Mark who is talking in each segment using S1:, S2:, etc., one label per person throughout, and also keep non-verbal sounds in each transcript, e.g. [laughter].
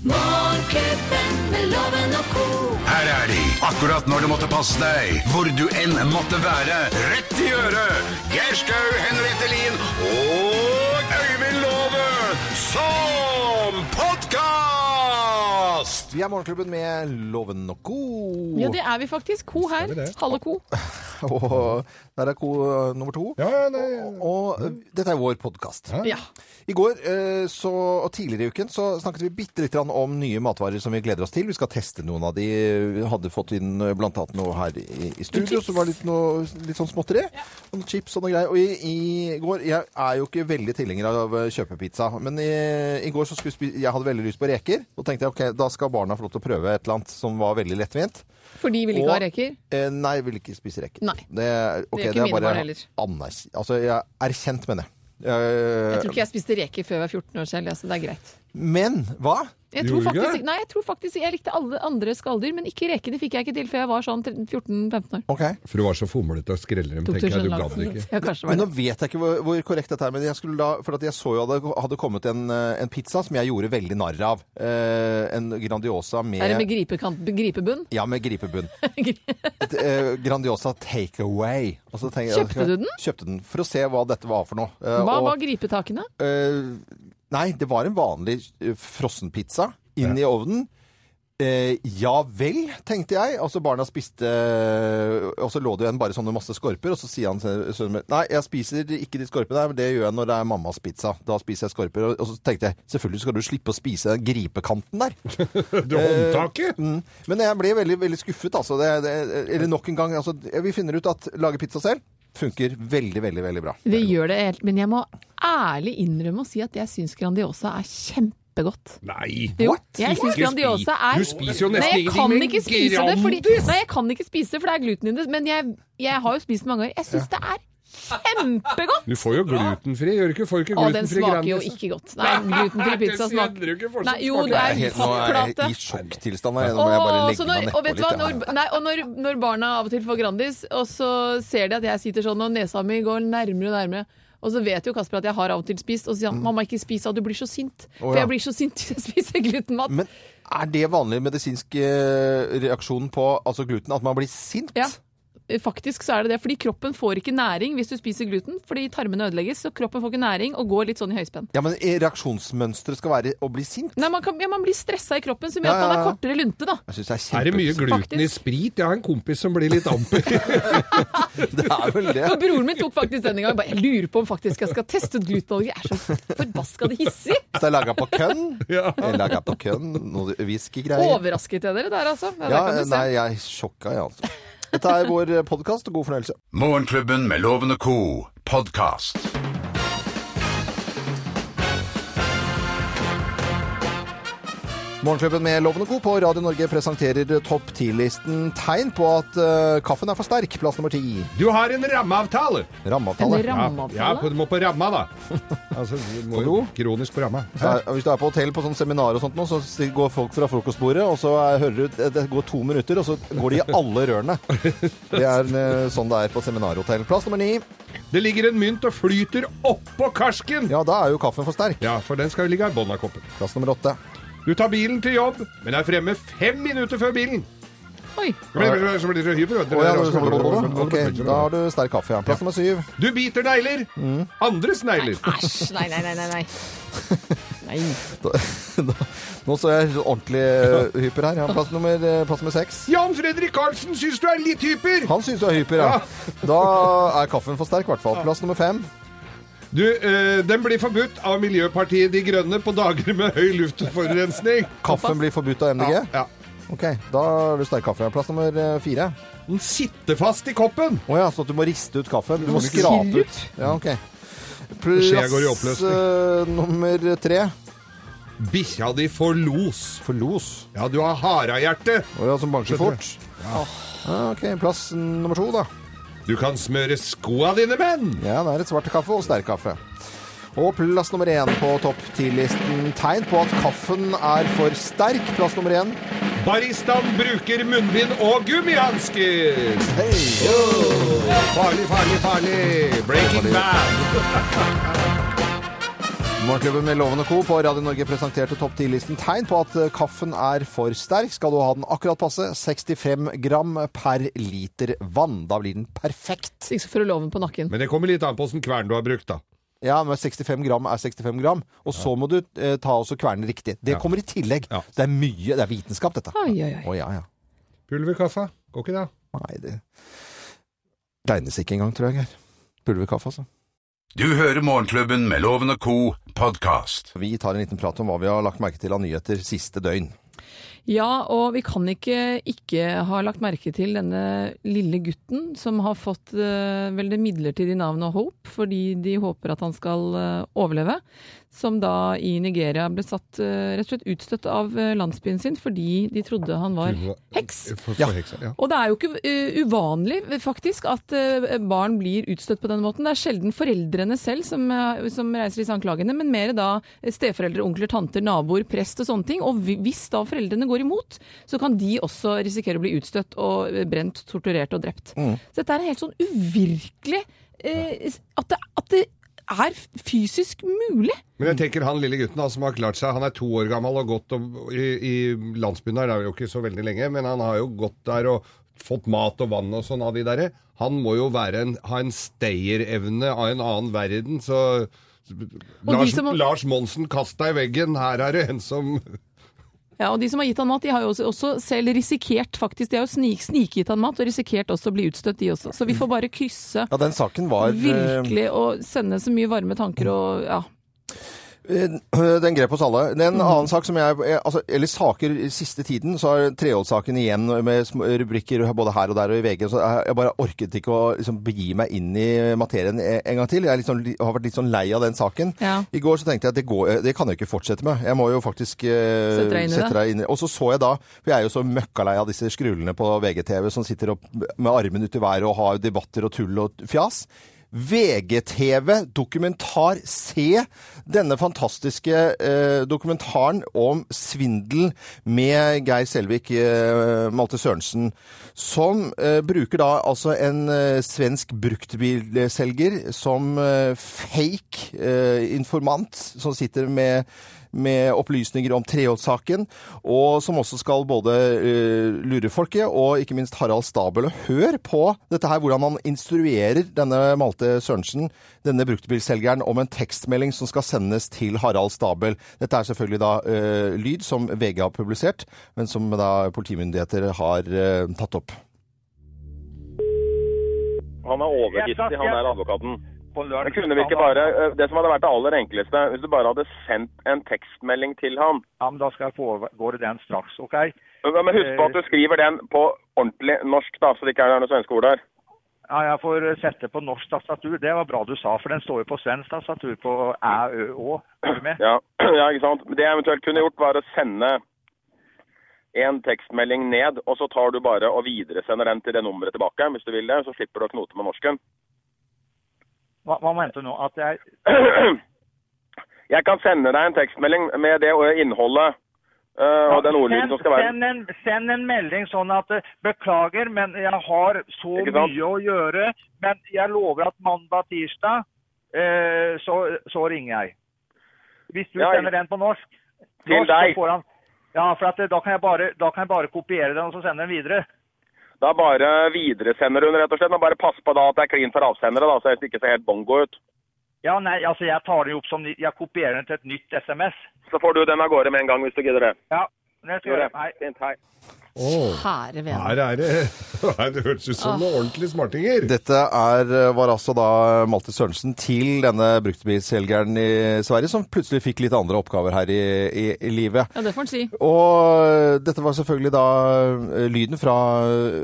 S1: Morgenklubben med loven og ko.
S2: Her er de, akkurat når du måtte passe deg, hvor du enn måtte være. Rett i øret! Geir Skau, Henriette Lien og Øyvind Låve som podkast!
S3: Vi er Morgenklubben med Loven og Co.
S4: Ja, det er vi faktisk. Ko her. Halve ko.
S3: [laughs] Og der er Co nummer to.
S5: Ja, ja, nei.
S3: Og eh, dette er vår podkast.
S4: Ja.
S3: I går eh, så, og tidligere i uken så snakket vi bitte litt grann om nye matvarer som vi gleder oss til. Vi skal teste noen av de. Vi hadde fått inn eh, blant annet noe her i, i studio
S4: Chips.
S3: som var litt, noe, litt sånn småtteri. Noen chips og noe greier. Og i, i går Jeg er jo ikke veldig tilhenger av eh, kjøpepizza, men i, i går så skulle spi- jeg hadde veldig lyst på reker. Og tenkte jeg ok, da skal barna få lov til å prøve et eller annet som var veldig lettvint.
S4: For de vil ikke
S3: Og-
S4: ha reker.
S3: Eh, nei, jeg vil ikke spise reker.
S4: Nei.
S3: Det, er- ok,
S4: Det er ikke
S3: det er
S4: mine
S3: bare
S4: barn heller.
S3: anners- Altså, jeg erkjent, mener jeg. Eh,
S4: Jeg tror ikke jeg spiste reker før jeg var 14 år selv, ja, så det er greit.
S3: Men hva?
S4: Jeg tror,
S5: Gjorde du ikke
S4: faktisk,
S5: det?
S4: nei, jeg tror faktisk jeg likte alle andre skalldyr, men ikke rekene fikk jeg ikke til før jeg var sånn 14-15 år.
S3: Ok.
S5: For du var så fomlete og skrelle dem, tenker
S4: sånn
S5: jeg. Du gadd det ikke.
S4: Ja, kanskje det var
S3: Men nå
S4: det.
S3: vet jeg ikke hvor, hvor korrekt dette er, men jeg skulle da, for at jeg så jo hadde, hadde kommet en, eh, en pizza som jeg gjorde veldig narr av. Eh, en Grandiosa med,
S4: Er det med gripekant, gripebunn? [laughs]
S3: ja, med gripebunn. Et, eh, grandiosa takeaway. Og så tenker jeg-
S4: Kjøpte du den?
S3: Kjøpte den, for å se hva dette var for noe. Eh,
S4: Hva
S3: og-
S4: var gripetakene?
S3: Eh, nei, det var en vanlig eh, frossenpizza inn i ovnen. Eh, ja vel, tenkte jeg. Og så barna spiste eh, Og så lå det igjen bare sånne masse skorper. Og så sier han til sønnen min Nei, jeg spiser ikke de skorpene, her, men det gjør jeg når det er mammas pizza. Da spiser jeg skorper. Og- Og så tenkte jeg selvfølgelig skal du slippe å spise den gripekanten der.
S5: Du håndtaket!
S3: Mm. Men jeg ble veldig, veldig skuffet, altså. Det, det, eller nok en gang. Altså, vi finner ut at lage pizza selv funker veldig, veldig, veldig bra.
S4: Det gjør det helt, men jeg må ærlig innrømme å si at jeg syns Grandiosa er kjempegodt.
S5: Nei!
S4: Jo,
S3: What?
S4: jeg
S5: Ikke
S4: syns
S5: spi-
S4: Grandiosa er
S5: Du spiser jo nesten
S4: Nei, jeg
S5: ingenting
S4: kan
S5: med
S4: ikke spise det, fordi,
S5: Grandis.
S4: Nei, jeg kan ikke spise det, for det er gluten i det. Men jeg, jeg har jo spist det mange ganger. Jeg syns det er kjempegodt!
S3: [laughs]
S5: Du får jo glutenfri, gjør du ikke? Får du ikke
S4: Å, den
S5: glutenfri
S4: smaker jo
S5: Grandis?
S4: ikke godt. Nei,
S3: [laughs]
S4: glutenfri pizza
S5: Det
S4: smaker
S5: kjenner du ikke fortsatt
S4: Nei, jo,
S5: smaker.
S4: det
S3: Jeg
S4: er
S3: er helt, nå er jeg i sjokktilstand her. Nå må jeg bare
S4: Åh,
S3: legge
S4: så
S3: meg
S4: når,
S3: nedpå
S4: og vet du hva,
S3: litt.
S4: når,
S3: jeg.
S4: nei, og når, når barna av og til får Grandis, og så ser de at jeg sitter sånn og nesa mi går nærmere og nærmere, og så vet jo Kasper at jeg har av og til spist, og så sier han 'mamma, ikke spis av, du blir så sint'. For
S3: Mm. ja.
S4: jeg blir så sint hvis jeg spiser glutenmat.
S3: Men er det vanlig medisinsk eh, reaksjon på altså gluten, at man blir sint?
S4: Ja. Faktisk så er det det, fordi kroppen får ikke næring hvis du spiser gluten. Fordi tarmene ødelegges, så kroppen får ikke næring og går litt sånn i høyspenn.
S3: Ja, men eh, reaksjonsmønsteret skal være å bli sint?
S4: Nei, man, kan, ja, man blir stressa i kroppen, som gjør at
S3: Ja, ja,
S4: man er
S3: ja.
S4: kortere lunte, da.
S3: Jeg synes det er
S5: Er det mye
S3: kjempe...
S5: gluten i
S4: Faktisk.
S5: sprit? Jeg har en kompis som blir litt amper.
S3: [laughs] Det er vel det.
S4: Og broren min tok faktisk denne gangen. bare, Jeg lurer på om faktisk jeg skal teste ut glutenallergi. Jeg er så forbaskende hissig.
S3: Så det er laga på kønn.
S5: [laughs] Ja.
S3: Det er Laga på kønn. Noe whiskygreier.
S4: Overrasket jeg dere der, altså? Ja,
S3: Ja,
S4: der kan du
S3: nei,
S4: se.
S3: jeg er sjokka, jeg, altså. Dette er vår podkast. God fornøyelse.
S2: Morgenklubben med Loven og Co. podkast.
S3: Morgenklubben med Loven og Co. på Radio Norge presenterer topp 10-listen tegn på at eh, kaffen er for sterk. Plass nummer ti.
S5: Du har en rammeavtale!
S4: En
S3: Rammeavtale.
S4: rammeavtale?
S5: Ja, på- du må på ramma,
S3: [laughs]
S5: da. Altså, du må jo kronisk på ramma.
S3: Så er- Hvis du er på hotell på sånn seminar og sånt nå, så s- går folk fra frokostbordet, og så er, hører du det går to minutter, og så går de i alle [laughs] rørene. Det er eh, sånn det er på seminarhotell. Plass nummer ni.
S5: Det ligger en mynt og flyter oppå karsken!
S3: Ja, da er jo kaffen for sterk.
S5: Ja, for den skal jo ligge i bånn av koppen.
S3: Plass nummer åtte.
S5: Du tar bilen til jobb, men er fremme fem minutter før bilen.
S4: Oi.
S5: Så blir så blir det så hyper, vet du.
S3: Å, ja, ok, da Mm. har du sterk kaffe. Ja. Plass nummer syv. [laughs]
S5: Du biter negler. Andres negler.
S4: Æsj. Nei, nei, nei, nei.
S3: [laughs]
S4: nei. Nei.
S3: Da, da, nå så jeg ordentlig eh, hyper her. Ja, plass nummer, eh, plass nummer seks.
S5: Jan Fredrik Karlsen syns du er litt hyper.
S3: Han syns du er hyper, ja. Da er kaffen for sterk, i hvert fall. Plass nummer fem.
S5: Du, eh, den blir forbudt av Miljøpartiet De Grønne på dager med høy luftforurensning.
S3: Kaffen blir forbudt av MDG.
S5: Ja.
S3: Ok, da har du sterk kaffe. Ja. Plass nummer eh, fire.
S5: Den sitter fast i koppen.
S3: Å ja, så at du må riste ut kaffen? Du må
S5: må ikke
S3: skrape
S5: skille
S3: ut? Ja, ok.
S5: Skjea går i
S3: Plass
S5: oppløsning.
S3: eh, nummer tre.
S5: Bikkja di får los.
S3: For los.
S5: Ja, du har harehjerte.
S3: Å ja, som banker
S5: Skjønner
S3: fort. Ja, Ah, ok, Plass nummer to, da.
S5: Du kan smøre skoa dine, menn.
S3: Ja, det er et svart kaffe og sterk kaffe. Og plass nummer én på topp ti-listen. Tegn på at kaffen er for sterk. Plass nummer én.
S5: Baristaen bruker munnbind og gummihansker.
S3: Hei!
S5: Farlig, farlig, farlig. Breaking bad.
S3: Morgenklubben med Loven og Co. på Radio Norge presenterte topp 10-listen tegn på at eh, kaffen er for sterk. Skal du ha den akkurat passe, 65 gram per liter vann. Da blir den perfekt.
S4: Ikke så for å love den på nakken.
S5: Men det kommer litt an på åssen kvern du har brukt, da.
S3: Ja, men 65 gram er 65 gram. Og så må du eh, ta også kvernen riktig. Det kommer i tillegg.
S5: Ja.
S3: Det er mye, det er vitenskap dette.
S4: Oi, oi, oi.
S3: Å ja, ja.
S5: Pulverkaffe. Går ikke det?
S3: Nei, det regnes ikke engang, tror jeg. Geir. Pulverkaffe, altså.
S2: Du hører Morgenklubben med Loven og Co. podkast.
S3: Vi tar en liten prat om hva vi har lagt merke til av nyheter siste døgn.
S4: Ja, og vi kan ikke ikke ha lagt merke til denne lille gutten som har fått eh, vel det midlertidige navnet Hope, fordi de håper at han skal eh, overleve. Som da i Nigeria ble satt eh, rett og slett utstøtt av eh, landsbyen sin fordi de trodde han var heks.
S5: For, for
S3: Ja.
S5: heksa, ja.
S4: Og det er jo ikke eh, uvanlig faktisk at eh, barn blir utstøtt på den måten. Det er sjelden foreldrene selv som, eh, som reiser disse anklagene, men mer da eh, steforeldre, onkler, tanter, naboer, prest og sånne ting. Og hvi- hvis da foreldrene går imot, så kan de også risikere å bli utstøtt og eh, brent, torturert og drept. Så dette er en helt sånn uvirkelig eh, s- at, det, at det er f- fysisk mulig.
S5: Men jeg tenker han lille gutten da, som har klart seg, han er to år gammel og gått og, i, i landsbyen der, det er jo ikke så veldig lenge, men han har jo gått der og fått mat og vann og sånn av de derre. Han må jo være en, ha en stayerevne av en annen verden, så Lars,
S4: som-
S5: Lars Monsen, kast deg i veggen, her er det en som
S4: Ja, og De som har gitt han mat, de har jo også, også selv risikert faktisk, de har jo snik, snikgitt han mat og risikert også å bli utstøtt, de også. Så vi får bare krysse
S3: Ja, den saken var eh,
S4: virkelig og sende så mye varme tanker og ja.
S3: Eh, Den grep oss alle. Det er En annen sak som jeg eh, altså, Eller saker i siste tiden, så er Treholt-saken igjen med små rubrikker både her og der og i VG. Så jeg jeg bare orket ikke å liksom, begi meg inn i materien en en gang til. Jeg er litt sånn, li- har vært litt sånn lei av den saken.
S4: Ja.
S3: I går så tenkte jeg at det, går, det kan jeg ikke fortsette med. Jeg må jo faktisk eh,
S4: Sette deg inn i det.
S3: sette deg inn i det. Og så så jeg da, for jeg er jo så møkkalei av disse skrullene på VGTV som sitter opp med armen ut i været og har debatter og tull og fjas. VGTV dokumentar Se denne fantastiske eh, dokumentaren om svindel med Geir Selvik, eh, Malte Sørensen, som eh, bruker da altså en eh, svensk bruktbilselger som eh, fake eh, informant, som sitter med med opplysninger om Treholt-saken, og som også skal både eh, lure folket og ikke minst Harald Stabel. Og hør på dette her, hvordan han instruerer denne Malte Sørensen, denne bruktbilselgeren, om en tekstmelding som skal sendes til Harald Stabel. Dette er selvfølgelig da eh, lyd som VG har publisert, men som da politimyndigheter har eh, tatt opp.
S6: Han er overgiftig, han er advokaten.
S7: på lørdag.
S6: Men kunne vi ikke bare, eh, Det som hadde vært det aller enkleste, hvis du bare hadde sendt en tekstmelding til han.
S7: Ja, men da skal jeg foregå den straks, OK?
S6: Men men husk på at du skriver den på ordentlig norsk, da, så det ikke er noen svenske ord der.
S7: Ja, jeg får eh, sette på norsk tastatur. Det var bra du sa, for den står jo på svensk tastatur på æ, ø, å. Er du med?
S6: Ja, [clears throat] ja ikke sant? Det jeg eventuelt kunne gjort, var å sende en tekstmelding ned, og så tar du bare og videresender den til det nummeret tilbake, hvis du vil det. Så slipper du å knote med norsken. [clears throat]
S7: Hva, hva mente du nå? At jeg
S6: Jeg kan sende deg en tekstmelding med det innholdet eh, og den ordlyden som skal være.
S7: Send, en, send en melding sånn at eh, beklager, men jeg har så
S6: Ikke sant?
S7: mye å gjøre. Men jeg lover at mandag-tirsdag eh, så, så ringer jeg. Hvis du
S6: Ja,
S7: sender den på norsk,
S6: Til
S7: norsk, så
S6: deg.
S7: får han Ja, for at, eh, da, kan jeg bare, da kan jeg bare kopiere den og så sende den videre.
S6: Da bare videresender hun, rett og slett. Men bare pass på da at det er klin for avsendere, da, så jeg ikke ser helt bongo ut.
S7: Ja, nei, altså jeg tar den jo opp som ny- Jeg kopierer den til et nytt SMS.
S6: Så får du den av gårde med en gang, hvis du gidder det.
S7: Ja, det skal jeg gjøre. Nei.
S6: Fint, hei.
S4: Kjære vene.
S5: [laughs] Her er det [laughs] Det hørtes ut som noen ordentlige smartinger.
S3: Dette er, var altså da Malte Sørensen til denne bruktbilselgeren i Sverige, som plutselig fikk litt andre oppgaver her i, i, i livet.
S4: Ja, det får han si.
S3: Og dette var selvfølgelig da eh, lyden fra eh,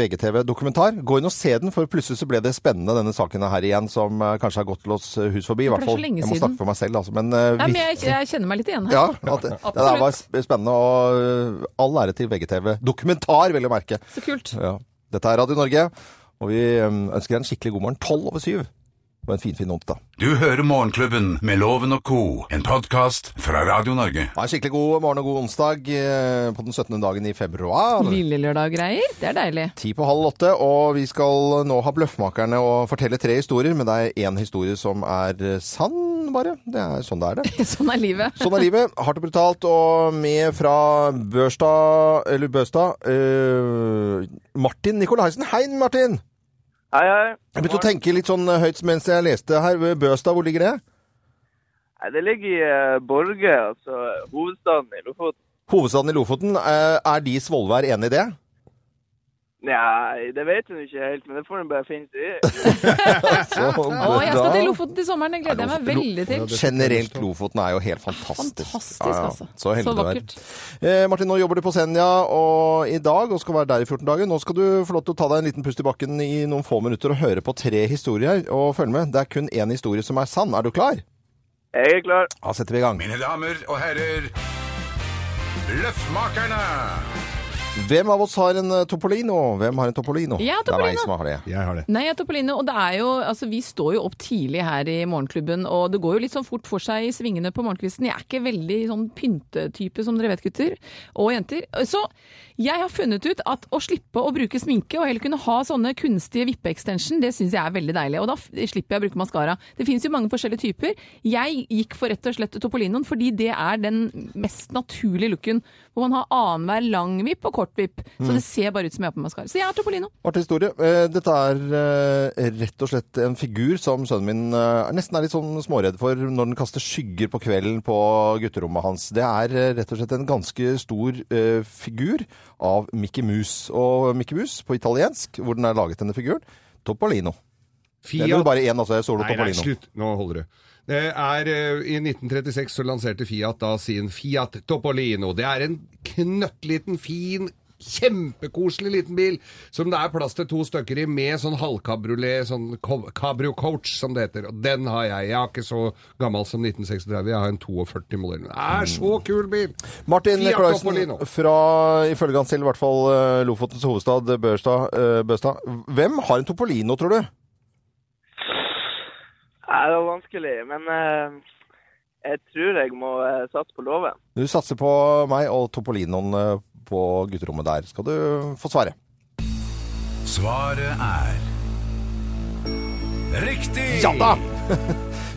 S3: VGTV-dokumentar. Gå inn og se den, for plutselig så ble det spennende, denne saken her igjen, som eh, kanskje har gått til oss eh, hus forbi. I
S4: For det er
S3: hvert
S4: så
S3: fall,
S4: lenge
S3: jeg må
S4: siden.
S3: snakke for meg selv, altså. Men, eh,
S4: Nei,
S3: vi-
S4: men jeg, jeg kjenner meg litt igjen her.
S3: ja, at det, det der var sp- spennende, og eh, all ære til VGTV. Dokumentar, vil jeg merke.
S4: Så kult.
S3: Ja. Dette er Radio Norge, og vi eh, ønsker deg en skikkelig god morgen. Tolv over syv. Og en finfin fin onsdag.
S2: Du hører Morgenklubben med Loven og Co., en podkast fra Radio Norge.
S3: Ha en skikkelig god morgen og god onsdag eh, på den 17. dagen i februar.
S4: Lille lørdag-greier. Det er deilig. [laughs]
S3: Ti på halv åtte, og vi skal nå ha Bløffmakerne og fortelle tre historier, men det er én historie som er sann, sånn bare. Det er sånn det er, det.
S4: Sånn er livet.
S3: Sånn er livet. [laughs] Hardt og brutalt. Og med fra Børstad Eller Bøstad eh, Martin Nikolaisen. Hei, Martin!
S8: Hei, hei.
S3: Jeg begynte å tenke litt sånn høyt mens jeg leste her. Bøstad, hvor ligger det?
S8: Nei, det ligger i eh, Borge, altså hovedstaden i Lofoten.
S3: Hovedstaden i Lofoten. eh, Er de Svolvær enig i det?
S8: Nei, det vet hun ikke helt, men det får hun bare finne seg i.
S3: Så
S4: [laughs] Å, jeg skal
S3: bra.
S4: til Lofoten til sommeren, det gleder jeg meg veldig til.
S3: Generelt Lofoten er jo helt fantastisk.
S4: Fantastisk,
S3: Ja, ja.
S4: altså.
S3: Så heldig
S4: Så
S3: du er.
S4: vakkert.
S3: Eh, Martin, nå jobber du på Senja og i dag og skal være der i 14 dager. Nå skal du få lov til å ta deg en liten pust i bakken i noen få minutter og høre på tre historier. Og følg med, det er kun én historie som er sann. Er du klar?
S8: Jeg er klar.
S3: Da setter vi i gang.
S2: Mine damer og herrer, Løftmakerne!
S3: Hvem av oss har en eh, Topolino? Hvem har en Topolino?
S4: Jeg har
S3: Det er
S4: Topolino.
S3: meg som har det.
S5: Jeg har det.
S4: Nei, jeg er Topolino, og det er jo, altså vi står jo opp tidlig her i morgenklubben, og det går jo litt sånn fort for seg i svingene på morgenkvisten. Jeg er ikke veldig sånn pyntetype som dere vet, gutter og jenter. Så jeg har funnet ut at å slippe å bruke sminke og heller kunne ha sånne kunstige vippeextension, det syns jeg er veldig deilig. Og da f- slipper jeg å bruke maskara. Det finnes jo mange forskjellige typer. Jeg gikk for rett og slett Topolinoen, fordi det er den mest naturlige looken. Hvor man har annenhver lang vipp og kort vipp. Så det ser bare ut som jeg har på maskara. Så jeg er Topolino.
S3: Artig historie. Eh, Dette er eh, rett og slett en figur som sønnen min eh, er nesten er litt sånn småredd for når den kaster skygger på kvelden på gutterommet hans. Det er eh, rett og slett en ganske stor eh, figur av Mickey Mouse. Og Mickey Mouse på italiensk, hvor den er laget denne figuren, Topolino. Det er jo bare én, altså. Solo
S5: Nei, nei,
S3: Topolino.
S5: slutt. Nå holder du. Det er, eh, I 1936 så lanserte Fiat da sin Fiat Topolino. Det er en knøttliten, fin, kjempekoselig liten bil som det er plass til to stykker i med sånn halvkabriolet, sånn ko- cabrio coach som det heter. Og den har jeg. Jeg er ikke så gammel som 1936, jeg har en 42-modell. Det er så kul bil!
S3: Martin
S5: Fiat
S3: Nicolaisen
S5: Topolino.
S3: fra, ifølge han selv, i hvert fall eh, Lofotens hovedstad, Børstad, eh, Bøstad. Hvem har en Topolino, tror du?
S8: Nei, det var vanskelig, men eh, jeg tror jeg må eh, satse på låven.
S3: Du satser på meg og Topolinoen eh, på gutterommet der. Skal du få svare.
S2: Svaret er Riktig!
S3: Ja da!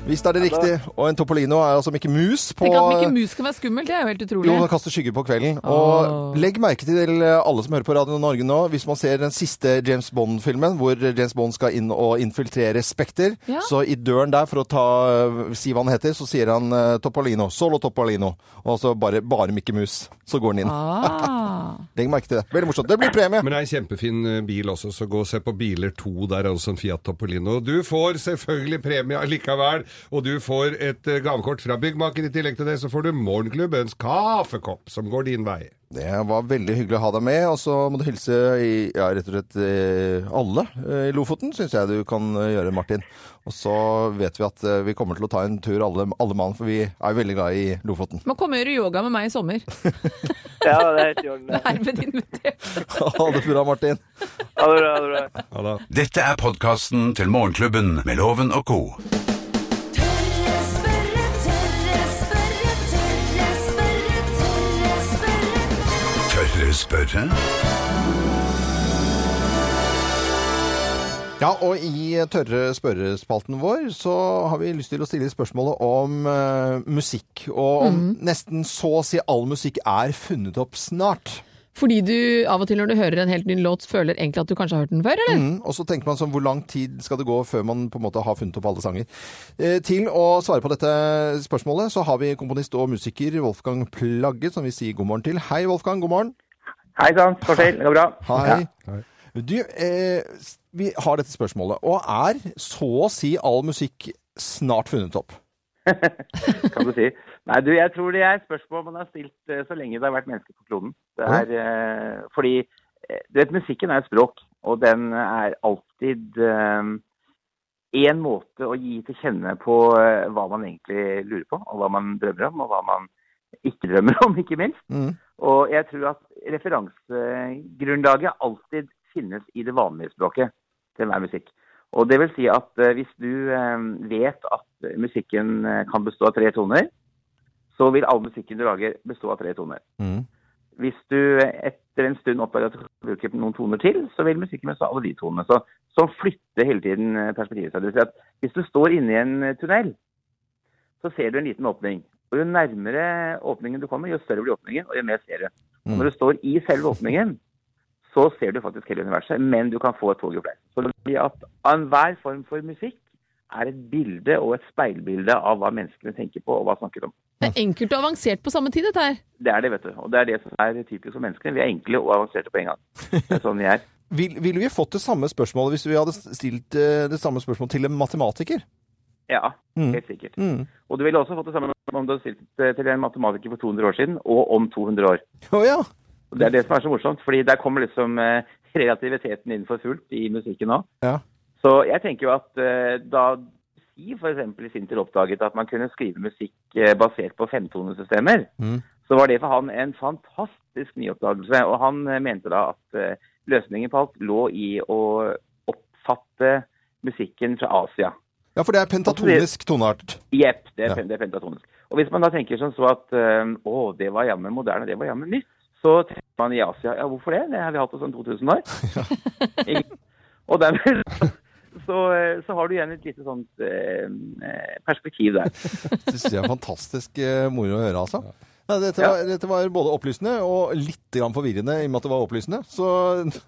S3: Hvis det er det riktige. Og en Topolino er altså Mikke Mus på
S4: Tenk at Mikke Mus kan være skummel, det er jo helt utrolig.
S3: jo, han kaster skygger på kvelden. Og
S4: Åh.
S3: legg merke til eh, alle som hører på Radio Norge nå, hvis man ser den siste James Bond-filmen, hvor James Bond skal inn og infiltrere Spekter,
S4: Ja.
S3: så i døren der, for å ta, eh, si hva han heter, så sier han eh, Topolino. Solo Topolino. Og så bare, bare Mikke Mus. Så går han inn.
S4: Ah.
S3: Legg merke til det. Veldig morsomt. Det blir premie.
S5: Men det er en kjempefin eh, bil også, så gå og se på Biler 2. Der er også en Fiat Topolino. Du får selvfølgelig premie allikevel, og du får et eh, gavekort fra byggmaker. I tillegg til det så får du Morgenklubbens kaffekopp, som går din vei.
S3: Det var veldig hyggelig å ha deg med, og så må du hilse i, ja, rett og slett eh, alle eh, i Lofoten, syns jeg du kan eh, gjøre, Martin. Og så vet vi at eh, vi kommer til å ta en tur alle, alle mann, for vi er jo veldig glad i Lofoten. [laughs]
S4: Man kommer og gjør yoga med meg i sommer.
S8: Ja, det er helt i orden. det.
S4: Herved invitert.
S3: Ha det bra, Martin.
S8: Ha det bra, ha det bra.
S5: Ja da.
S2: Dette er podkasten til Morgenklubben med Loven og co.
S1: Tørre spørre, tørre spørre, tørre spørre, tørre spørre.
S2: Tør du spørre?
S3: Ja, og i eh, tørre spørrespalten vår så har vi lyst til å stille spørsmålet om eh, musikk. Og om nesten så å si all musikk er funnet opp snart.
S4: Fordi du av og til når du hører en helt ny låt, føler egentlig at du kanskje har hørt den før, eller?
S3: Mm, og så tenker man sånn, hvor lang tid skal det gå før man på en måte har funnet opp alle sanger? Eh, til å svare på dette spørsmålet, så har vi komponist og musiker Wolfgang Plagge, som vi sier god morgen til. Hei, Wolfgang, god morgen.
S8: Hei sann, står til. Det går bra.
S3: Hei.
S5: Hei.
S3: Du, eh, s- vi har dette spørsmålet, og er så å si all musikk snart funnet opp?
S8: kan du si. Nei, du, jeg tror det er et spørsmål man har stilt eh, så lenge det har vært mennesker på kloden. Det er, eh, fordi eh, du vet, musikken er et språk, og den er alltid én måte å gi til kjenne på eh, hva man egentlig lurer på, og hva man drømmer om, og hva man ikke drømmer om, ikke minst.
S3: Mm.
S8: Og jeg tror at referansegrunnlaget alltid finnes i det vanlige språket til enhver musikk. Og det vil si at eh, hvis du eh, vet at musikken eh, kan bestå av tre toner, så vil all musikken du lager bestå av tre toner.
S3: Mm.
S8: Hvis du etter en stund oppdager at du kan bruke noen toner til, så vil musikken bestå av alle de tonene. Så, så flytter hele tiden eh, perspektivet seg. Det vil si at hvis du står inne i en eh, tunnel, så ser du en liten åpning. Og Jo nærmere åpningen du kommer, jo større blir åpningen, og jo mer ser du. Og når du står i selve åpningen, så ser du faktisk hele universet, men du kan få et tog i fleisen. Så det blir at enhver form for musikk er et bilde og et speilbilde av hva menneskene tenker på og hva snakket om.
S4: Det er enkelt og avansert på samme tid, dette her.
S8: Det er det, vet du. Og det er det som er typisk for menneskene. Vi er enkle og avanserte på en gang. Det er sånn vi er.
S3: Vil, ville vi fått det samme spørsmålet hvis vi hadde stilt eh, det samme spørsmålet til en matematiker? Mm.
S8: Ja, helt sikkert. Og du ville også fått det samme om du hadde stilt det til en matematiker for 200 år siden, og om 200 år.
S3: Å ja.
S8: Og Det er det som er så morsomt, fordi der kommer liksom eh, relativiteten inn for fullt i musikken nå.
S3: ja.
S8: Så jeg tenker jo at eh, da Si f.eks. i sin tid oppdaget at man kunne skrive musikk eh, basert på femtonesystemer, så var det for han en fantastisk nyoppdagelse. Og han eh, mente da at eh, løsningen på alt lå i å oppfatte musikken fra Asia.
S3: Ja, for det er pentatonisk toneart.
S8: Jepp, det, er
S3: Ja.
S8: pen- det er pentatonisk. Og hvis man da tenker sånn så at eh, å, det var jammen moderne, det var jammen nytt, så tenker man i Asia ja, hvorfor det? Det har vi hatt på sånn 2000 år. Ikke- og dermed så, så, eh, så har du igjen et lite sånt eh, eh, perspektiv der.
S3: Det synes jeg er fantastisk eh, moro å høre, altså. Nei, dette, var, dette var både opplysende og litt grann forvirrende i og med at det var opplysende. Så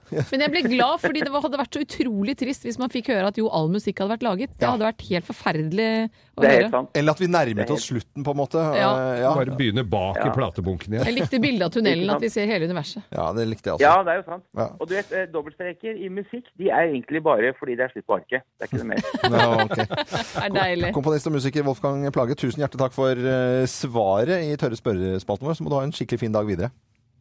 S4: Men jeg ble glad, fordi det var- hadde vært så utrolig trist hvis man fikk høre at jo, all musikk hadde vært laget. Det hadde vært helt forferdelig å
S8: Det er helt
S4: høre.
S8: sant.
S3: Eller at vi nærmet oss slutten, på en måte.
S4: Ja.
S3: Eh,
S5: Bare
S3: ja.
S5: begynne bak i
S8: Ja.
S5: platebunken igjen.
S4: Jeg likte bildet av tunnelen, at vi ser hele universet.
S3: ja, det likte jeg, altså.
S8: Ja, det er jo sant.
S3: Ja.
S8: Og du vet, eh, dobbeltstreker i musikk de er egentlig bare fordi det er slutt på arket. Det er ikke noe mer.
S3: [laughs] Ja, ok.
S4: Det er [laughs] deilig.
S3: Komponist og musiker Wolfgang Plage, tusen hjertelig takk for eh, svaret i Tørre spørrespalten vår. Så må du ha en skikkelig fin dag videre.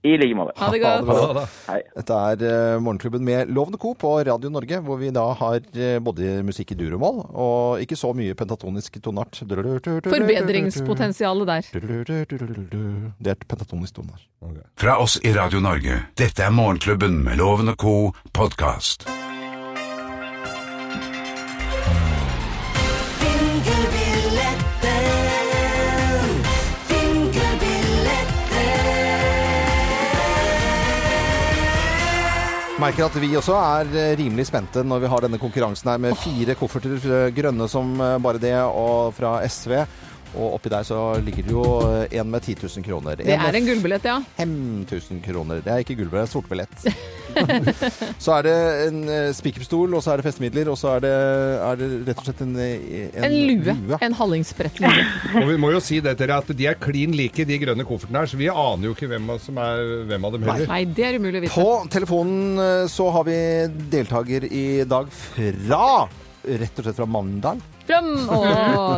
S8: I like måte.
S4: Ha det
S3: Ha
S4: godt.
S3: det bra.
S5: Ja, da.
S8: Hei.
S3: Dette er eh, Morgenklubben med Lovende Co. på Radio Norge, hvor vi da har eh, både musikk i duromål og ikke så mye pentatonisk tonart.
S4: Forbedringspotensialet der.
S3: Det er et pentatonisk tonart.
S2: Fra oss i Radio Norge. Dette er Morgenklubben med Loven og Co. podkast.
S1: Fingerbilletten, fingerbilletten.
S3: Merker at vi også er eh, rimelig spente når vi har denne konkurransen her med fire kofferter, eh, grønne som eh, bare det, og fra SV. Og oppi der så ligger det jo eh, en med 10 000 kroner.
S4: Det
S3: med
S4: er en gullbillett, ja.
S3: 5000 kroner. Det er ikke gullbillett, det er sortbillett.
S4: [laughs]
S3: så er det en eh, spikerpistol, og så er det festemidler, og så er det, er det rett og slett en eh,
S4: En lue. En hallingsbrettlue.
S5: Og vi må jo si det til dere at de er klin like, de grønne koffertene her, så vi aner jo ikke hvem av, som er, hvem av dem heller.
S4: Nei, det er umulig å vite.
S3: På telefonen eh, så har vi deltaker i dag fra Rett og slett fra Mandal.
S4: Fram! Å,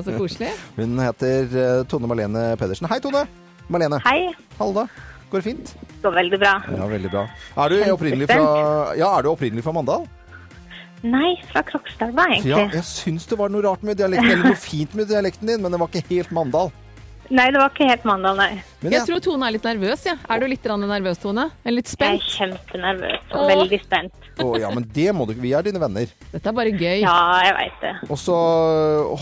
S4: så koselig.
S3: Hun heter eh, Tone Marlene Pedersen. Hei, Tone. Marlene.
S9: Hei.
S3: Halda. Går det fint?
S9: Det går veldig bra.
S3: Ja, veldig bra. Er du opprinnelig fra, ja, er du opprinnelig fra Mandal?
S9: Nei, fra Krokstad, da,
S3: Ja,
S9: egentlig.
S3: jeg syns det var noe rart med dialekten, eller noe fint med dialekten din, men den var ikke helt Mandal.
S9: Nei, det var ikke helt mandag, nei.
S3: Men
S4: Jeg tror Tone er litt nervøs, jeg. Er du litt grann nervøs, Tone? Eller litt
S9: Jeg er
S4: spent?
S9: kjempenervøs og
S4: Åh.
S9: veldig spent.
S3: Å, ja, men det må du ikke. Vi er dine venner.
S4: Dette er bare gøy.
S9: Ja, jeg veit det.
S3: Og så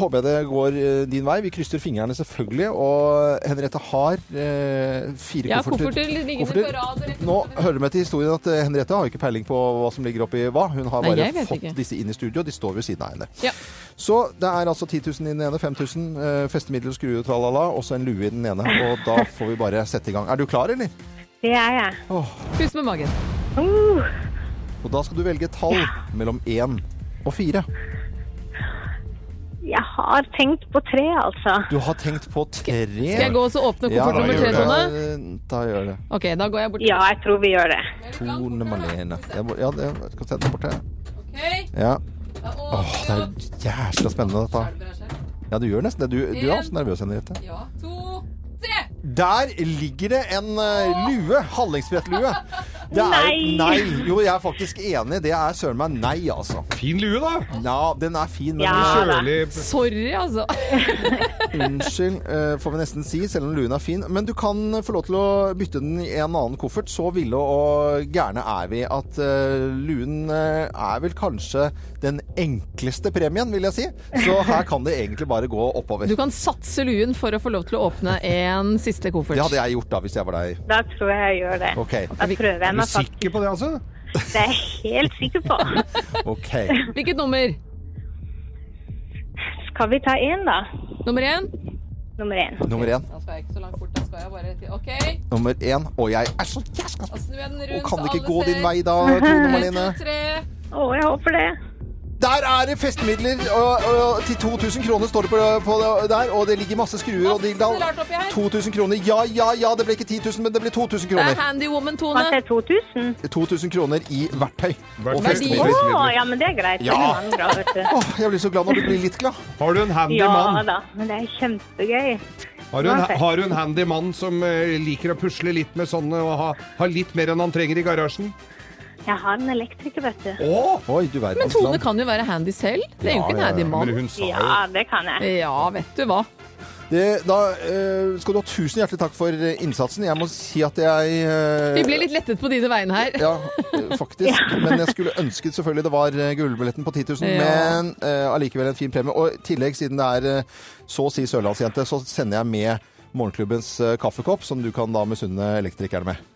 S3: håper jeg det går eh, din vei. Vi krysser fingrene selvfølgelig. Og Henriette har eh, fire
S4: Ja,
S3: kofferter.
S4: kofferter liggende
S3: Kofferter.
S4: på rad, rett og
S3: Nå hører det med til historien at eh, Henriette har jo ikke peiling på hva som ligger oppi hva. Hun har
S4: Nei,
S3: bare
S4: jeg vet
S3: fått
S4: ikke.
S3: disse inn i studio, og de står ved siden av henne.
S4: Ja.
S3: Så det er altså 10 000 i den ene, 5000 eh, festemidler og skruer og tralala, og så en lue i den ene. Og da får vi bare sette i gang. Er du klar, eller?
S9: Det er jeg.
S4: Pust med magen.
S9: Uh,
S3: Og da skal du velge et tall mellom én og fire.
S9: jeg har tenkt på tre, altså.
S3: Du har tenkt på tre.
S4: Skal jeg gå og så åpne koffert nummer tre, Tone?
S3: Da gjør det.
S4: Ok, da går jeg bort.
S9: Ja, jeg tror vi gjør det.
S3: Tone Marlene. Jeg må, ja, det, jeg skal se den borte.
S4: Ok,
S3: Ja.
S4: da
S3: Åh, det er jævla spennende dette.
S4: åpner jeg.
S3: Ja, du gjør nesten det. Du, du er også nervøs, Henriette.
S4: Ja, to, tre.
S3: Der ligger det en eh, lue. Hallingsbrettlue. Det er-
S9: Nei.
S3: Nei! Jo, jeg er faktisk enig. Det er søren meg nei, altså.
S5: Fin lue, da!
S3: Ja, den er fin, men
S9: Ja. da.
S5: Kjølig.
S4: Sorry, altså.
S3: unnskyld, eh, får vi nesten si, selv om luen er fin. Men du kan få lov til å bytte den i en annen koffert. Så ville og gærne er vi at eh, luen eh, er vel kanskje den enkleste premien, vil jeg si. Så her kan det egentlig bare gå oppover.
S4: Du kan satse luen for å få lov til å åpne en siste koffert.
S3: Det hadde jeg gjort da, hvis jeg var deg.
S9: Da tror jeg jeg gjør det.
S3: Ok.
S9: Da prøver jeg
S5: Er du
S9: meg faktisk.
S5: sikker på det, altså?
S9: Det er jeg helt sikker på.
S3: Ok.
S4: Hvilket nummer?
S9: Skal vi ta én, da?
S4: Nummer én?
S9: nummer én.
S3: Nummer én.
S4: Da skal jeg ikke så langt bort. Da skal jeg bare til OK.
S3: Nummer én. Og jeg er så jæskla
S4: Da snur jeg den
S3: Og
S4: rundt.
S3: kan det
S4: alle
S3: ikke gå
S4: ser.
S3: din vei da, Tone
S4: [laughs]
S3: Marlene?
S4: En, to, tre.
S9: Å, jeg håper det.
S3: Der er det festmidler og, og, til 2000 kroner står det på, på det der, og det ligger masse skruer og dildal.
S4: Masse rart oppi her.
S3: 2000 kroner. Ja, ja, ja, det ble ikke 10 000, men det ble 2000
S4: Det er
S3: kroner.
S4: Handy Woman
S9: Hva
S4: Tone.
S9: sier 2000?
S3: 2000 kroner i verktøy.
S5: Verktøy.
S3: Og
S5: Verdi.
S9: Å,
S3: festmidler.
S9: ja, men det er greit. Det
S3: Ja.
S9: er mange bra, vet du.
S3: Åh, jeg blir så glad når du blir litt glad.
S5: Har du en handy
S9: Ja
S5: mann?
S9: da, men det er kjempegøy.
S5: Har du en,
S9: Uansett.
S5: har du en handy mann som eh, liker å pusle litt med sånne og ha, ha litt mer enn han trenger i garasjen?
S9: Jeg har en elektriker, vet du.
S5: Åh!
S3: Oi, du verden.
S4: Men Tone kan jo være handy selv. Det er jo ikke en
S3: Ja, ja,
S4: handy
S5: Men
S4: mann.
S5: hun sa jo
S9: Ja, det kan jeg.
S4: Ja, vet du hva.
S3: Det, da eh, skal du ha tusen hjertelig takk for eh, innsatsen. Jeg må si at jeg eh,
S4: Vi ble litt lettet på dine vegne her.
S3: Ja, eh, faktisk. Men jeg skulle ønsket selvfølgelig det var eh, gullbilletten på 10 000,
S4: Ja.
S3: men eh, allikevel en fin premie. Og i tillegg, siden det er eh, så å si sørlandsjente, så sender jeg med morgenklubbens eh, kaffekopp, som du kan da misunne elektrikerne med.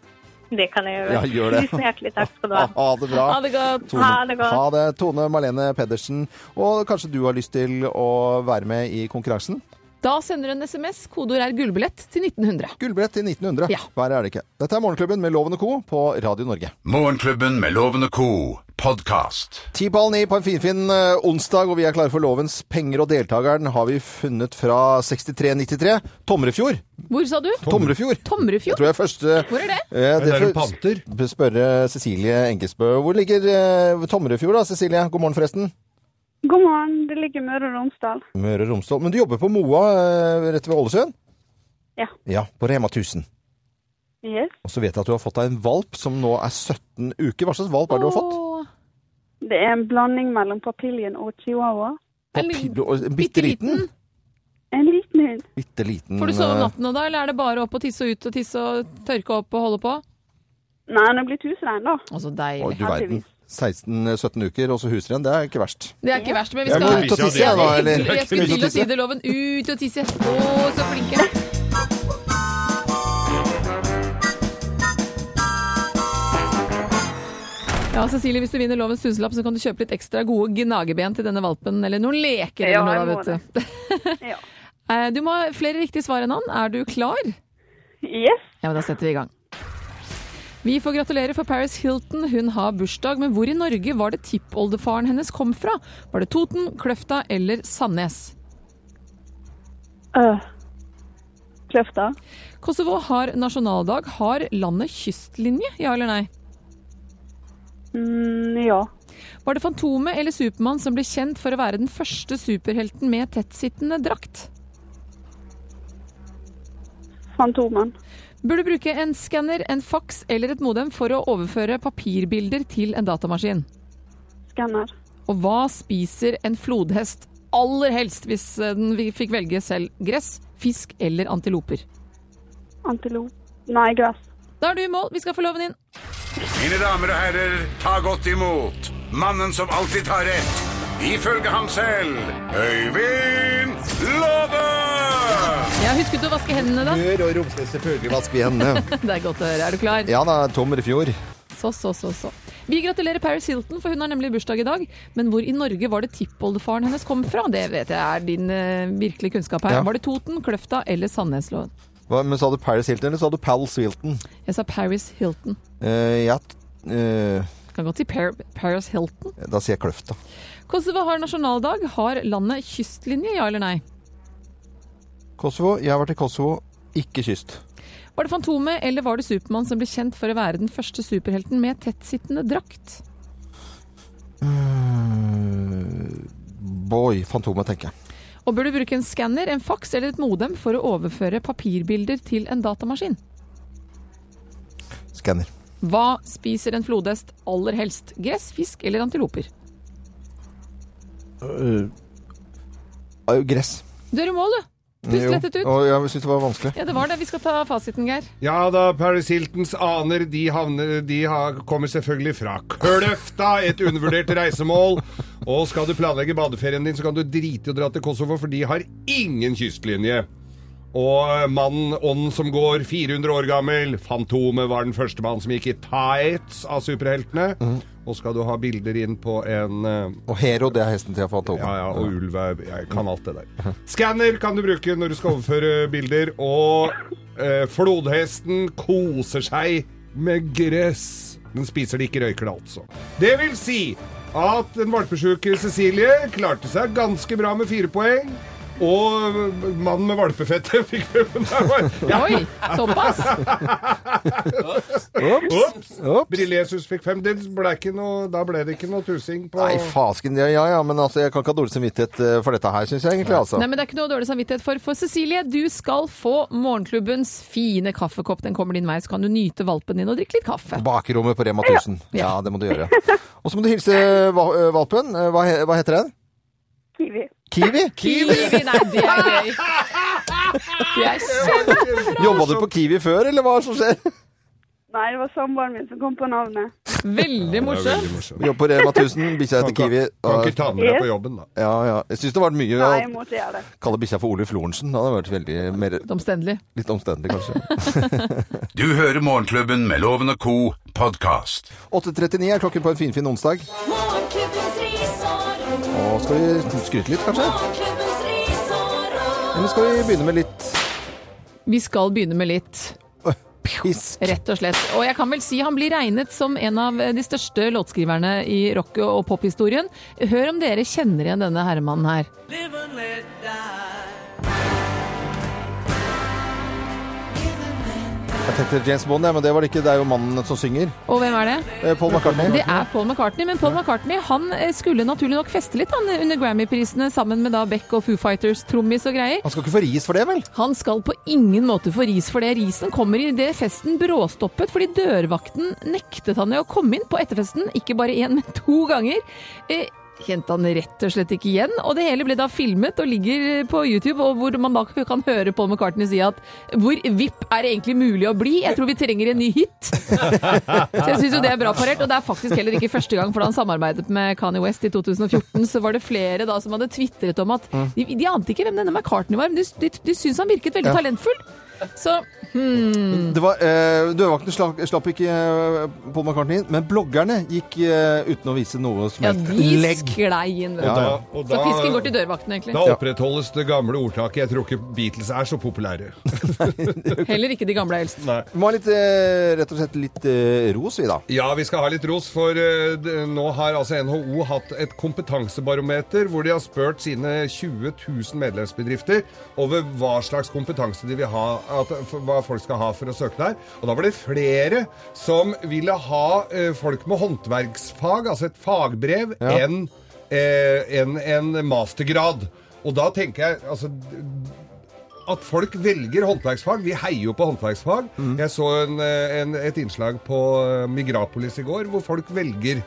S9: Det kan jeg gjøre.
S3: Ja, gjør det.
S9: Tusen hjertelig takk skal du
S3: Ha, [laughs]
S9: ha.
S3: ha det bra.
S4: Ha det godt.
S3: Tone.
S9: Ha det godt.
S3: Ha det. Tone Marlene Pedersen. Og kanskje du har lyst til å være med i konkurransen?
S4: Da sender du en SMS. Kodeord er gullbillett til 1900.
S3: Gullbillett til 1900.
S4: Ja.
S3: Verre er det ikke. Dette er Morgenklubben med Loven og Co. på Radio Norge.
S2: Morgenklubben med Lovende Co. Podcast.
S3: Ti på halv ni på en finfin eh, onsdag, og vi er klare for lovens penger. Og deltakeren har vi funnet fra 6393. Tomrefjord.
S4: Hvor sa du?
S3: Tomrefjord. Jeg
S4: Tomrefjord?
S3: tror jeg første
S4: Hvor er det?
S3: Eh,
S5: det er en
S3: får
S5: panter.
S3: sp- Spørre Cecilie Enkesbø. Hvor ligger eh, Tomrefjord da, Cecilie? God morgen, forresten.
S10: God morgen, det ligger Møre og Romsdal.
S3: Møre og Romsdal. Men du jobber på Moa eh, rett ved Ålesund?
S10: Ja.
S3: Ja, På Rema 1000.
S10: Yes.
S3: Og så vet jeg at du har fått deg en valp som nå er 17 uker. Hva slags valp er det du har fått?
S4: Åh,
S10: Det er en blanding mellom papiljen og chihuahua.
S4: en
S3: Papir- og- en
S4: bitte
S3: Bitte liten?
S4: liten.
S10: En liten hund.
S3: Bitte liten.
S4: Får du sove om
S3: eh,
S4: natten nå, da, eller er det bare opp og tisse og ut og tisse og tørke opp og holde på?
S10: Nei, den er blitt husrein, da.
S4: Å, så
S3: Oi,
S4: deilig.
S3: du verden.
S10: Heldigvis.
S3: 16-17 uker, og så husrenn. Det er ikke verst.
S4: Det er ikke verst, men vi
S3: Jeg
S4: skal
S3: må ut og tisse, jeg, da. Eller?
S4: Jeg skulle til å si det, Loven. Ut og tisse. Å, så flinke. Ja, Cecilie, hvis du vinner Lovens tusenlapp, så kan du kjøpe litt ekstra gode gnageben til denne valpen. Eller noen leker
S10: Ja, jeg
S4: eller noe, da,
S10: må
S4: vet du. [laughs]
S10: Ja.
S4: Eh, Du må ha flere riktige svar enn han. Er du klar?
S10: Yes.
S4: Ja, men da setter vi i gang. Vi får gratulere for Paris Hilton. Hun har bursdag, men hvor i Norge var det tippoldefaren hennes kom fra? Var det Toten, Kløfta eller Sandnes?
S10: Øh. Kløfta.
S4: Kosovo har nasjonaldag. Har landet kystlinje, ja eller nei?
S10: Mm, ja.
S4: Var det Fantomet eller Supermann som ble kjent for å være den første superhelten med tettsittende drakt?
S10: Fantomen.
S4: Burde bruke en skanner, en faks eller et modem for å overføre papirbilder til en datamaskin.
S10: Skanner.
S4: Og hva spiser en flodhest aller helst hvis eh, den fikk velge selv? Gress, fisk eller antiloper?
S10: Antilop. Nei, gress.
S4: Da er du i mål. Vi skal få loven inn.
S2: Mine damer og herrer, ta godt imot mannen som alltid tar rett. Ifølge ham selv Øyvind Låve!
S4: Jeg husket å vaske hendene, da.
S3: Møre og Romsdal, selvfølgelig vasker vi hendene.
S4: Det er godt å høre. Er du klar?
S3: [laughs] Ja da, Tomrefjord.
S4: Så, så, så, så. Vi gratulerer Paris Hilton, for hun har nemlig bursdag i dag. Men hvor i Norge var det tippoldefaren hennes kom fra? Det vet jeg er din eh, virkelige kunnskap her.
S3: Ja.
S4: Var det Toten, Kløfta eller Sandnesloven?
S3: Hva, men sa du Paris Hilton, eller sa du Pals Hilton?
S4: Jeg sa Paris Hilton.
S3: Eh, ja, eh,
S4: Kan godt si per Paris Hilton.
S3: da sier jeg Kløfta.
S4: Kosovo har nasjonaldag. Har landet kystlinje, ja eller nei?
S3: Kosovo. Jeg har vært i Kosovo. Ikke kyst.
S4: Var det Fantomet eller var det Supermann som ble kjent for å være den første superhelten med tettsittende drakt?
S3: Eh, boy. Fantomet, tenker jeg.
S4: Og bør du bruke en skanner, en faks eller et modem for å overføre papirbilder til en datamaskin?
S3: Skanner.
S4: Hva spiser en flodhest aller helst? Gress, fisk eller antiloper?
S3: Eh, gress.
S4: Du er i mål, du. Pust
S3: Jo.
S4: lettet ut.
S3: Å, jeg syns det var vanskelig.
S4: Ja, det var det. Vi skal ta fasiten, Geir.
S5: Ja da, Paris Hiltons aner de, havner, de har, kommer selvfølgelig fra Kløfta, et undervurdert reisemål. Og skal du planlegge badeferien din, så kan du drite i å dra til Kosovo, for de har ingen kystlinje. Og mannen, ånden som går, 400 år gammel. Fantomet var den første mannen som gikk i tights av superheltene. Og skal du ha bilder inn på en eh,
S3: Og Hero, det er hesten til Fantomet.
S5: Ja, ja, og ulv er Jeg kan alt det der. Skanner kan du bruke når du skal overføre bilder. Og eh, flodhesten koser seg med gress. Den spiser det ikke røyker det, altså. Det vil si at den valpesjuke Cecilie klarte seg ganske bra med fire poeng. Og mannen med valpefettet [laughs] fikk fem.
S4: Oi, såpass?
S5: Ops! Brillesus fikk fem. Det ble ikke noe, da ble det ikke noe tusing på
S3: Nei, fasken. Ja, ja, ja, men altså, jeg kan ikke ha dårlig samvittighet eh, for dette her, syns jeg egentlig. altså.
S4: Nei, men Det er ikke noe dårlig samvittighet for. For Cecilie, du skal få morgenklubbens fine kaffekopp. Den kommer din vei, så kan du nyte valpen din og drikke litt kaffe.
S3: Bakrommet på Rema 1000. Ja. det må du gjøre. Og så må du hilse va- eh, valpen. Eh, Hva, he- hva heter den?
S10: Kiwi.
S3: Kiwi?
S4: Kiwi, nei, det er gøy. Det er kjempebra.
S3: Jobba du på Kiwi før, eller hva er det som skjer?
S10: Nei, det var samboeren min som kom på navnet.
S4: Veldig morsomt.
S3: Jobber [laughs] på Rema 1000, bikkja heter Kiwi.
S5: Kan ikke ta med deg på jobben, da.
S3: Ja, ja. Jeg syns det var mye å
S10: Nei, jeg måtte gjøre det.
S3: kalle bikkja for Ole Florensen. Det hadde vært veldig mer,
S4: Omstendelig.
S3: litt omstendelig, kanskje. [laughs]
S2: Du hører Morgenklubben med Loven og Co. podkast.
S3: 8.39 er klokken på en finfin fin onsdag.
S1: Morgenklubbens ris og ros.
S3: Og skal vi skryte litt, kanskje?
S1: Morgenklubbens ris og ros.
S3: Eller skal vi begynne med litt
S4: Vi skal begynne med litt.
S3: pisk?
S4: Rett og slett. Og jeg kan vel si han blir regnet som en av de største låtskriverne i rock- og pophistorien. Hør om dere kjenner igjen denne herremannen her.
S1: Live and let die.
S3: Jeg tenkte James Bond, ja, men det var det ikke. Det er jo mannen som synger.
S4: Og hvem er det?
S3: Eh, Paul McCartney.
S4: Det er Paul McCartney, men Paul McCartney han eh, skulle naturlig nok feste litt han, under Grammy-prisene sammen med da Beck og Foo Fighters, trommis og greier.
S3: Han skal ikke få ris for det, vel?
S4: Han skal på ingen måte få ris for det. Risen kommer i det festen bråstoppet fordi dørvakten nektet han jo å komme inn på etterfesten, ikke bare én, men to ganger. Eh, Kjente han rett og slett ikke igjen, og det hele ble da filmet og ligger på YouTube, og hvor man da kan høre Paul McCartney si at hvor vipp er det egentlig mulig å bli? Jeg tror vi trenger en ny hit. Så jeg syns jo det er bra parert, og det er faktisk heller ikke første gang, for da han samarbeidet med Kanye West i 2014, så var det flere da som hadde tvitret om at
S5: Mm.
S4: de, de ante ikke hvem denne McCartney var, men de, de, de syntes han virket veldig talentfull. Så
S3: Det var, eh, Dørvakten slapp, slapp ikke eh, Paul McCartney inn, men bloggerne gikk eh, uten å vise noe som
S4: ja,
S3: helst
S4: de
S3: legg.
S4: sklei inn. vet du.
S5: Da, og
S4: Så fisken
S5: da,
S4: går til dørvakten,
S5: da
S4: egentlig.
S5: opprettholdes det gamle ordtaket 'Jeg tror ikke Beatles er så populære'.
S4: Heller ikke de gamle eldste.
S5: Nei.
S3: Vi må ha litt, eh, rett og slett litt eh, ros, vi da.
S5: [laughs] Ja, vi skal ha litt ros, for eh, d- nå har altså NHO hatt et kompetansebarometer hvor de har spurt sine 20 000 medlemsbedrifter over hva slags kompetanse de vil ha, at, f- hva folk skal ha for å søke der. Og da var det flere som ville ha eh, folk med håndverksfag, altså et fagbrev, enn eh, enn en mastergrad. Og da tenker jeg altså, at folk velger håndverksfag. Vi heier jo på håndverksfag.
S3: Mm.
S5: Jeg så en, eh, en, et innslag på eh, Migrapolis i går hvor folk velger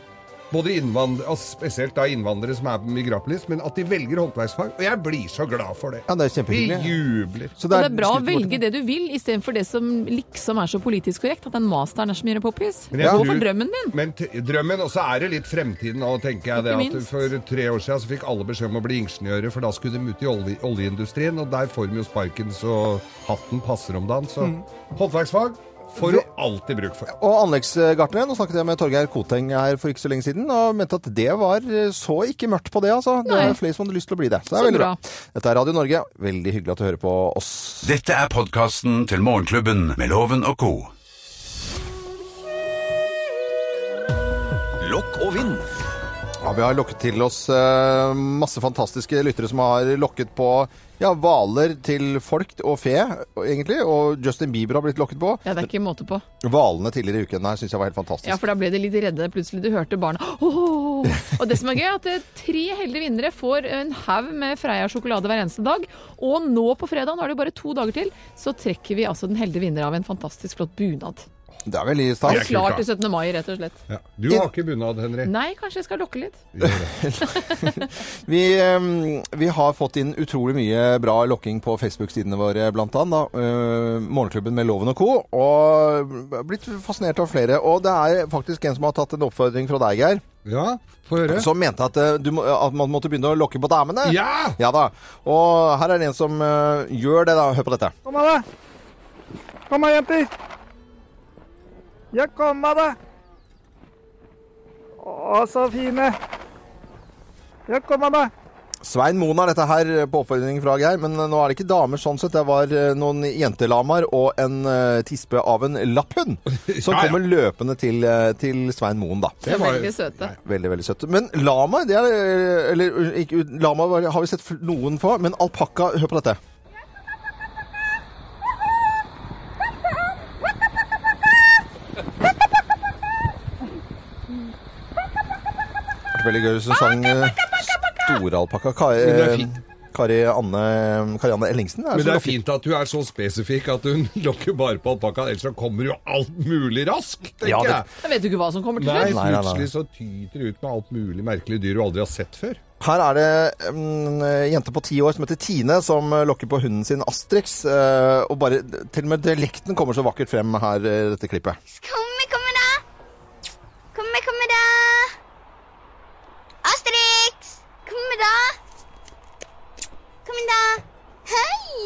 S5: både innvandrere, altså spesielt da innvandrere som er på Migrapolis, men at de velger håndverksfag. Og jeg blir så glad for det.
S3: Ja, det er
S5: Vi
S3: kjempehyggelig.
S5: jubler.
S3: Så
S4: Og det er bra å
S3: skritt bort.
S4: velge det du vil, istedenfor det som liksom er så politisk korrekt, at den masteren er så mye poppis.
S5: Men jeg
S4: Gå
S5: tror-
S4: for drømmen din.
S5: Men t drømmen, og så er det litt fremtiden nå, tenker jeg det.
S4: Ikke
S5: At
S4: minst.
S5: for tre år siden så fikk alle beskjed om å bli ingeniører, for da skulle de ut i olje oljeindustrien, og der får de jo sparken så hatten passer om dagen. Så
S3: Mm.
S5: håndverksfag får du alltid bruk for.
S3: Og anleggsgartnere, nå snakket jeg med Torgeir Koteng her for ikke så lenge siden, og mente at det var eh, så ikke mørkt på det, altså. Det
S4: Nei.
S3: er flere som hadde lyst til å bli det. Så det er
S4: Så
S3: veldig bra.
S4: bra.
S3: Dette er Radio Norge. Veldig hyggelig at du hører på oss.
S2: Dette er podkasten til Morgenklubben med Loven og Co.
S11: Lokk og vind.
S3: Ja, vi har lokket til oss eh, masse fantastiske lyttere som har lokket på ja, hvaler til folk og fe, egentlig. Og Justin Bieber har blitt lokket på.
S4: Ja, det er ikke måte på.
S3: Hvalene tidligere i uken her syns jeg var helt fantastisk.
S4: Ja, for da ble de litt redde plutselig. Du hørte barna «Åh!» Og det som er gøy, er at eh, tre heldige vinnere får en haug med Freia sjokolade hver eneste dag. Og nå på fredag, nå er det jo bare to dager til, så trekker vi altså den heldige vinner av en fantastisk flott bunad.
S3: Det er veldig
S5: Det er
S3: stas.
S5: kult,
S4: Klar
S5: da.
S4: til 17. mai, rett og slett.
S5: Ja. Du har ikke bunad, Henry.
S4: Nei, kanskje jeg skal lokke litt.
S3: Vi, eh, vi har fått inn utrolig mye bra lokking på Facebook-sidene våre, blant annet. Da. Eh, Morgenklubben med Loven og co. Og blitt fascinert av flere. Og det er faktisk en som har tatt en oppfordring fra deg, Geir.
S5: Ja, få høre.
S3: Som mente at, eh, du må, at man måtte begynne å lokke på damene.
S5: Ja!
S3: Ja da. Og her er det en som eh, gjør det, da. Hør på dette.
S11: Kom her, da. Kom her, jenter. Ja, kom her, da. Å, så fine. Ja, kom her, da.
S3: Svein Moen er dette her eh, på oppfordring fra Geir, men eh, nå er det ikke damer sånn sett. Det var eh, noen jentelamaer og en eh, tispe av en lapphund
S5: [laughs] Ja,
S3: som
S5: ja.
S3: kommer løpende til, eh, til Svein Moen, da.
S5: Det var
S4: Veldig søte.
S3: Veldig, veldig søtt. Men lama, det er Eller ikke, lama var- har vi sett fl- noen få, men alpakka Hør på dette. Det var Veldig gøy hvis hun sang eh, store alpakka.
S5: Men det er
S3: Kari,
S5: fint.
S3: Kari Anne Kari Anne Ellingsen?
S5: Men det
S3: som
S5: er fint at du er så spesifikk at hun [laughs] lokker bare på alpakkaen, ellers så kommer jo alt mulig raskt, tenker
S3: Ja, det-
S5: jeg.
S4: Jeg vet jo ikke hva som kommer til
S5: Nei,
S4: slutt.
S3: Nei, nei, nei.
S5: plutselig så tyter det ut med alt mulig merkelige dyr du aldri har sett før.
S3: Her er det en eh, jente på ti år som heter Tine, som eh, lokker på hunden sin Astrix. eh, og bare, til og med dialekten kommer så vakkert frem her eh, i dette klippet.
S12: Komme, komme, da! Komme, komme, da! Asterix! Komme, da! Kom da! Hei!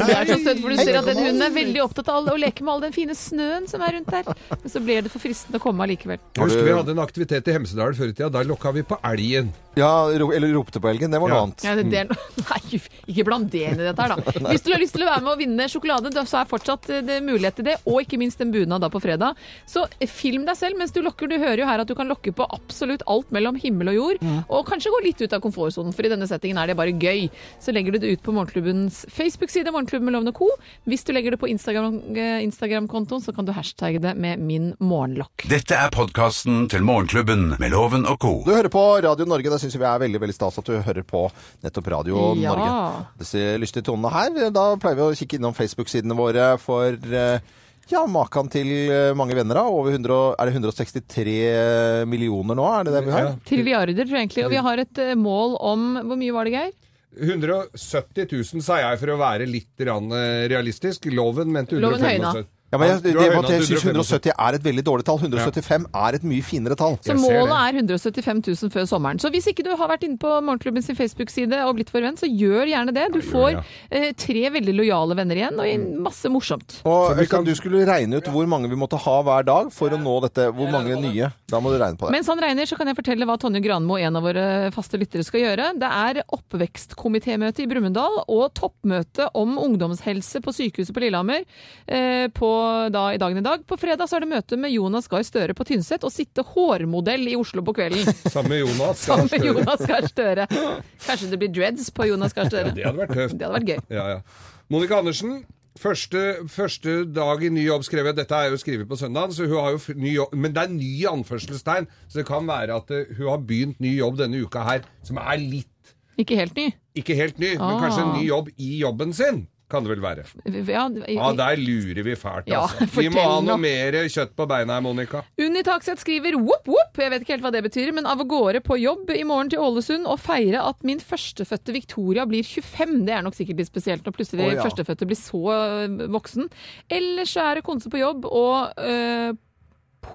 S4: Det er så søtt, for du ser at den hunden er veldig opptatt av all- å leke med all den fine snøen som er rundt der. Men så blir det for fristende å komme allikevel.
S5: Jeg husker
S3: du-
S5: vi hadde en aktivitet i Hemsedal før i tida. Der lokka vi på elgen.
S3: Ja, ro, eller ropte på elgen. Det var noe
S5: Ja.
S3: annet.
S4: Ja, det, det er no [laughs] Nei, uff, ikke bland det inn i dette her, da. Hvis du har lyst til å være med og vinne sjokolade, da, så er fortsatt eh, det mulighet til det. Og ikke minst en bunad da på fredag. Så eh, film deg selv mens du lokker. Du hører jo her at du kan lokke på absolutt alt mellom himmel og jord. Og kanskje gå litt ut av komfortsonen, for i denne settingen er det bare gøy. Så legger du det ut på Morgenklubbens Facebook-side, Morgenklubben med Lovende Co. Hvis du legger det på Instagram- eh, Instagram-kontoen, så kan du hashtagge det med min morgenlokk.
S2: Dette er podkasten til Morgenklubben med Loven og co.
S3: Du hører på Radio Norge. Det syns vi er veldig veldig stas at du hører på nettopp Radio
S4: Ja.
S3: Norge. Disse lystige tonene her. eh, Da pleier vi å kikke innom Facebook-sidene våre for eh, ja, Makan til eh, mange venner. da. Over 100, og- er det 163 millioner nå? Er det det vi har?
S5: Ja.
S4: Trilliarder, tror jeg egentlig. Og vi har et eh, mål om Hvor mye var det, Geir?
S5: 170 000 sa jeg for å være litt rann, eh, realistisk. Loven mente
S4: Loven høyna.
S5: 175
S3: Ja, men jeg, det,
S5: Du har
S3: det,
S5: høyna
S3: at jeg
S5: til
S3: syns
S5: 175.
S3: 170 er et veldig dårlig tall. 175 er et mye finere tall.
S4: Så
S5: Jeg ser
S4: målet er 175 000 før sommeren. Så hvis ikke du har vært inne på Morgenklubben sin Facebook-side og blitt vår venn, så gjør gjerne det. Du får
S5: gjør det,
S4: eh, tre veldig lojale venner igjen, og en masse morsomt.
S3: Og
S5: Så vi
S3: Øystein,
S5: kan-
S3: du skulle regne ut hvor mange vi måtte ha hver dag for å nå dette. Hvor mange nye? Da må du regne på det.
S4: Mens han regner, så kan jeg fortelle hva Tonje Granmo, en av våre faste lyttere, skal gjøre. Det er oppvekstkomitémøte i Brumunddal og toppmøte om ungdomshelse på sykehuset på Lillehammer eh, på, da, i dagen i dag. På fredag så er det møte med Jonas Gahr Støre på Tynset og sitte hårmodell i Oslo på kvelden.
S5: Sammen med Jonas.
S4: Sammen med Jonas Gahr Støre. Kanskje det blir dreads på Jonas Gahr Støre.
S5: Det hadde vært tøft.
S4: Det hadde vært gøy.
S5: Ja, ja. Monica Andersen, første, første dag i ny jobb skrev jeg Dette er jo skrevet på søndag, så hun har jo f- ny jobb, men det er ny i anførselstegn. Så det kan være at eh, hun har begynt ny jobb denne uka her, som er litt
S4: Ikke helt ny.
S5: Ikke helt ny, men
S4: Ah.
S5: kanskje en ny jobb i jobben sin. Kan det vel være.
S4: Ja, i-
S5: Ja, der lurer vi fælt,
S4: Ja,
S5: altså. vi
S4: fortell
S5: må ha
S4: nå.
S5: noe mer kjøtt på beina her, Monica.
S4: Unni Takseth skriver whoop whoop, jeg vet ikke helt hva det betyr, men av gårde på jobb i morgen til Ålesund og feire at min førstefødte Victoria blir 25. Det er nok sikkert litt spesielt når plutselig
S3: Å, ja.
S4: førstefødte blir så øh, voksen. Ellers så er det konse på jobb og øh,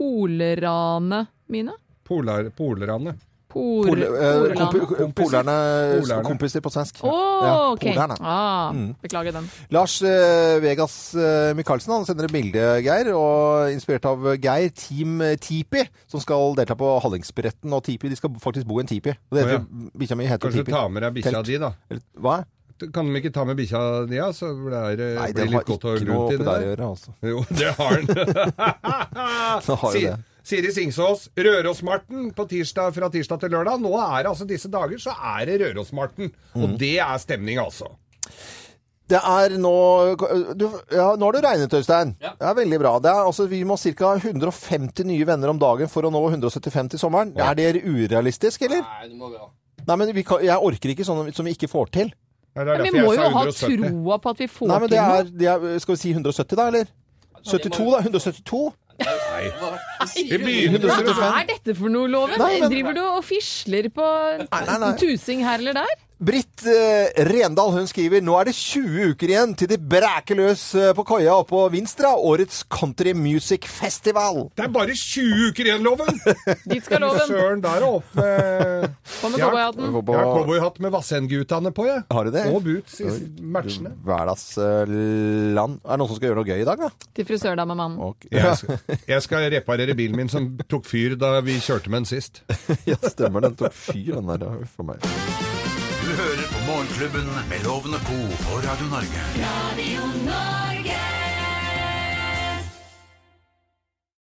S4: polerane mine.
S5: Polar, polerne.
S4: Por,
S3: Pol, eh,
S4: polerane.
S3: kompi- polerne
S5: Polerne.
S3: Kompiser på svensk.
S4: Å,
S3: Ja,
S4: ok.
S3: polerne. Mm.
S4: Ah, beklager den.
S3: Lars eh, Vegas eh, Michaelsen han sender et bilde, Geir, og inspirert av Geir, Team eh, Tipi, som skal delta på Hallingsbretten. Og Tipi, de skal faktisk bo i en Tipi. Og det
S5: Å, ja.
S3: heter, Bikkja mi heter
S5: Kanskje du
S3: Tipi.
S5: tar med deg bikkja
S3: Telt.
S5: di, da.
S3: Eller, Hva?
S5: Kan de ikke ta med bikkja di, ja, så det er, eh,
S3: Nei,
S5: blir
S3: den har
S5: litt godt
S3: ikke
S5: og
S3: noe
S5: lunt
S3: oppi
S5: inni
S3: der å
S5: der?
S3: gjøre, altså.
S5: Jo, det har
S3: [laughs]
S5: den.
S3: Den [laughs] har jo
S5: Si-
S3: det.
S5: Siri Singsås, Rørosmarten på tirsdag fra tirsdag til lørdag. Nå er det altså disse dager, så er det Rørosmarten.
S3: Mm.
S5: Og det er stemning, altså.
S3: Det er nå du, ja, Nå har du regnet, Øystein. Det er veldig bra. Det er, altså, vi må ha ca. 150 nye venner om dagen for å nå 175 til sommeren. Er det urealistisk, eller?
S13: Nei, du må bra.
S3: Nei, men vi kan, jeg orker ikke sånne som vi ikke får til.
S5: Ja, det er
S4: Ja,
S5: derfor
S4: vi
S5: jeg
S4: må
S5: sa
S4: jo ha
S5: 170.
S4: troa på at vi får
S3: Nei, men
S4: til
S3: det
S4: noe.
S3: er, det er Skal vi si 170, da, eller? 72, da. 172?
S5: Vi begynner
S4: Hva er dette for noe, Loven?
S3: Nei, men-
S4: Driver du og fisler på
S3: Nei, nei, nei.
S4: tusing her eller der?
S3: Britt eh, Rendal hun skriver nå er det 20 uker igjen til de bræker løs eh, på kaia oppå Vinstra, årets Country Music Festival.
S5: Det er bare 20 uker igjen, Loven!
S4: Dit skal [laughs] loven.
S5: Søren, der er opp med
S4: På med
S5: Jeg har-
S4: cowboyhatten.
S5: Jeg har cowboyhatt med Vassendgutane på, jeg.
S3: Har du det?
S5: Og boots i
S3: Oi,
S5: matchene.
S3: du Hverdags eh, land. Er det noen som skal gjøre noe gøy i dag, da?
S4: Til frisørdamemannen.
S3: Ok.
S5: Jeg skal, jeg skal reparere bilen min som tok fyr da vi kjørte med den sist.
S3: [laughs] ja, stemmer. Den tok fyr, den der. Huff a meg.
S2: Du hører på Morgenklubben med Loven og Co. på Radio Norge.
S1: Radio Norge.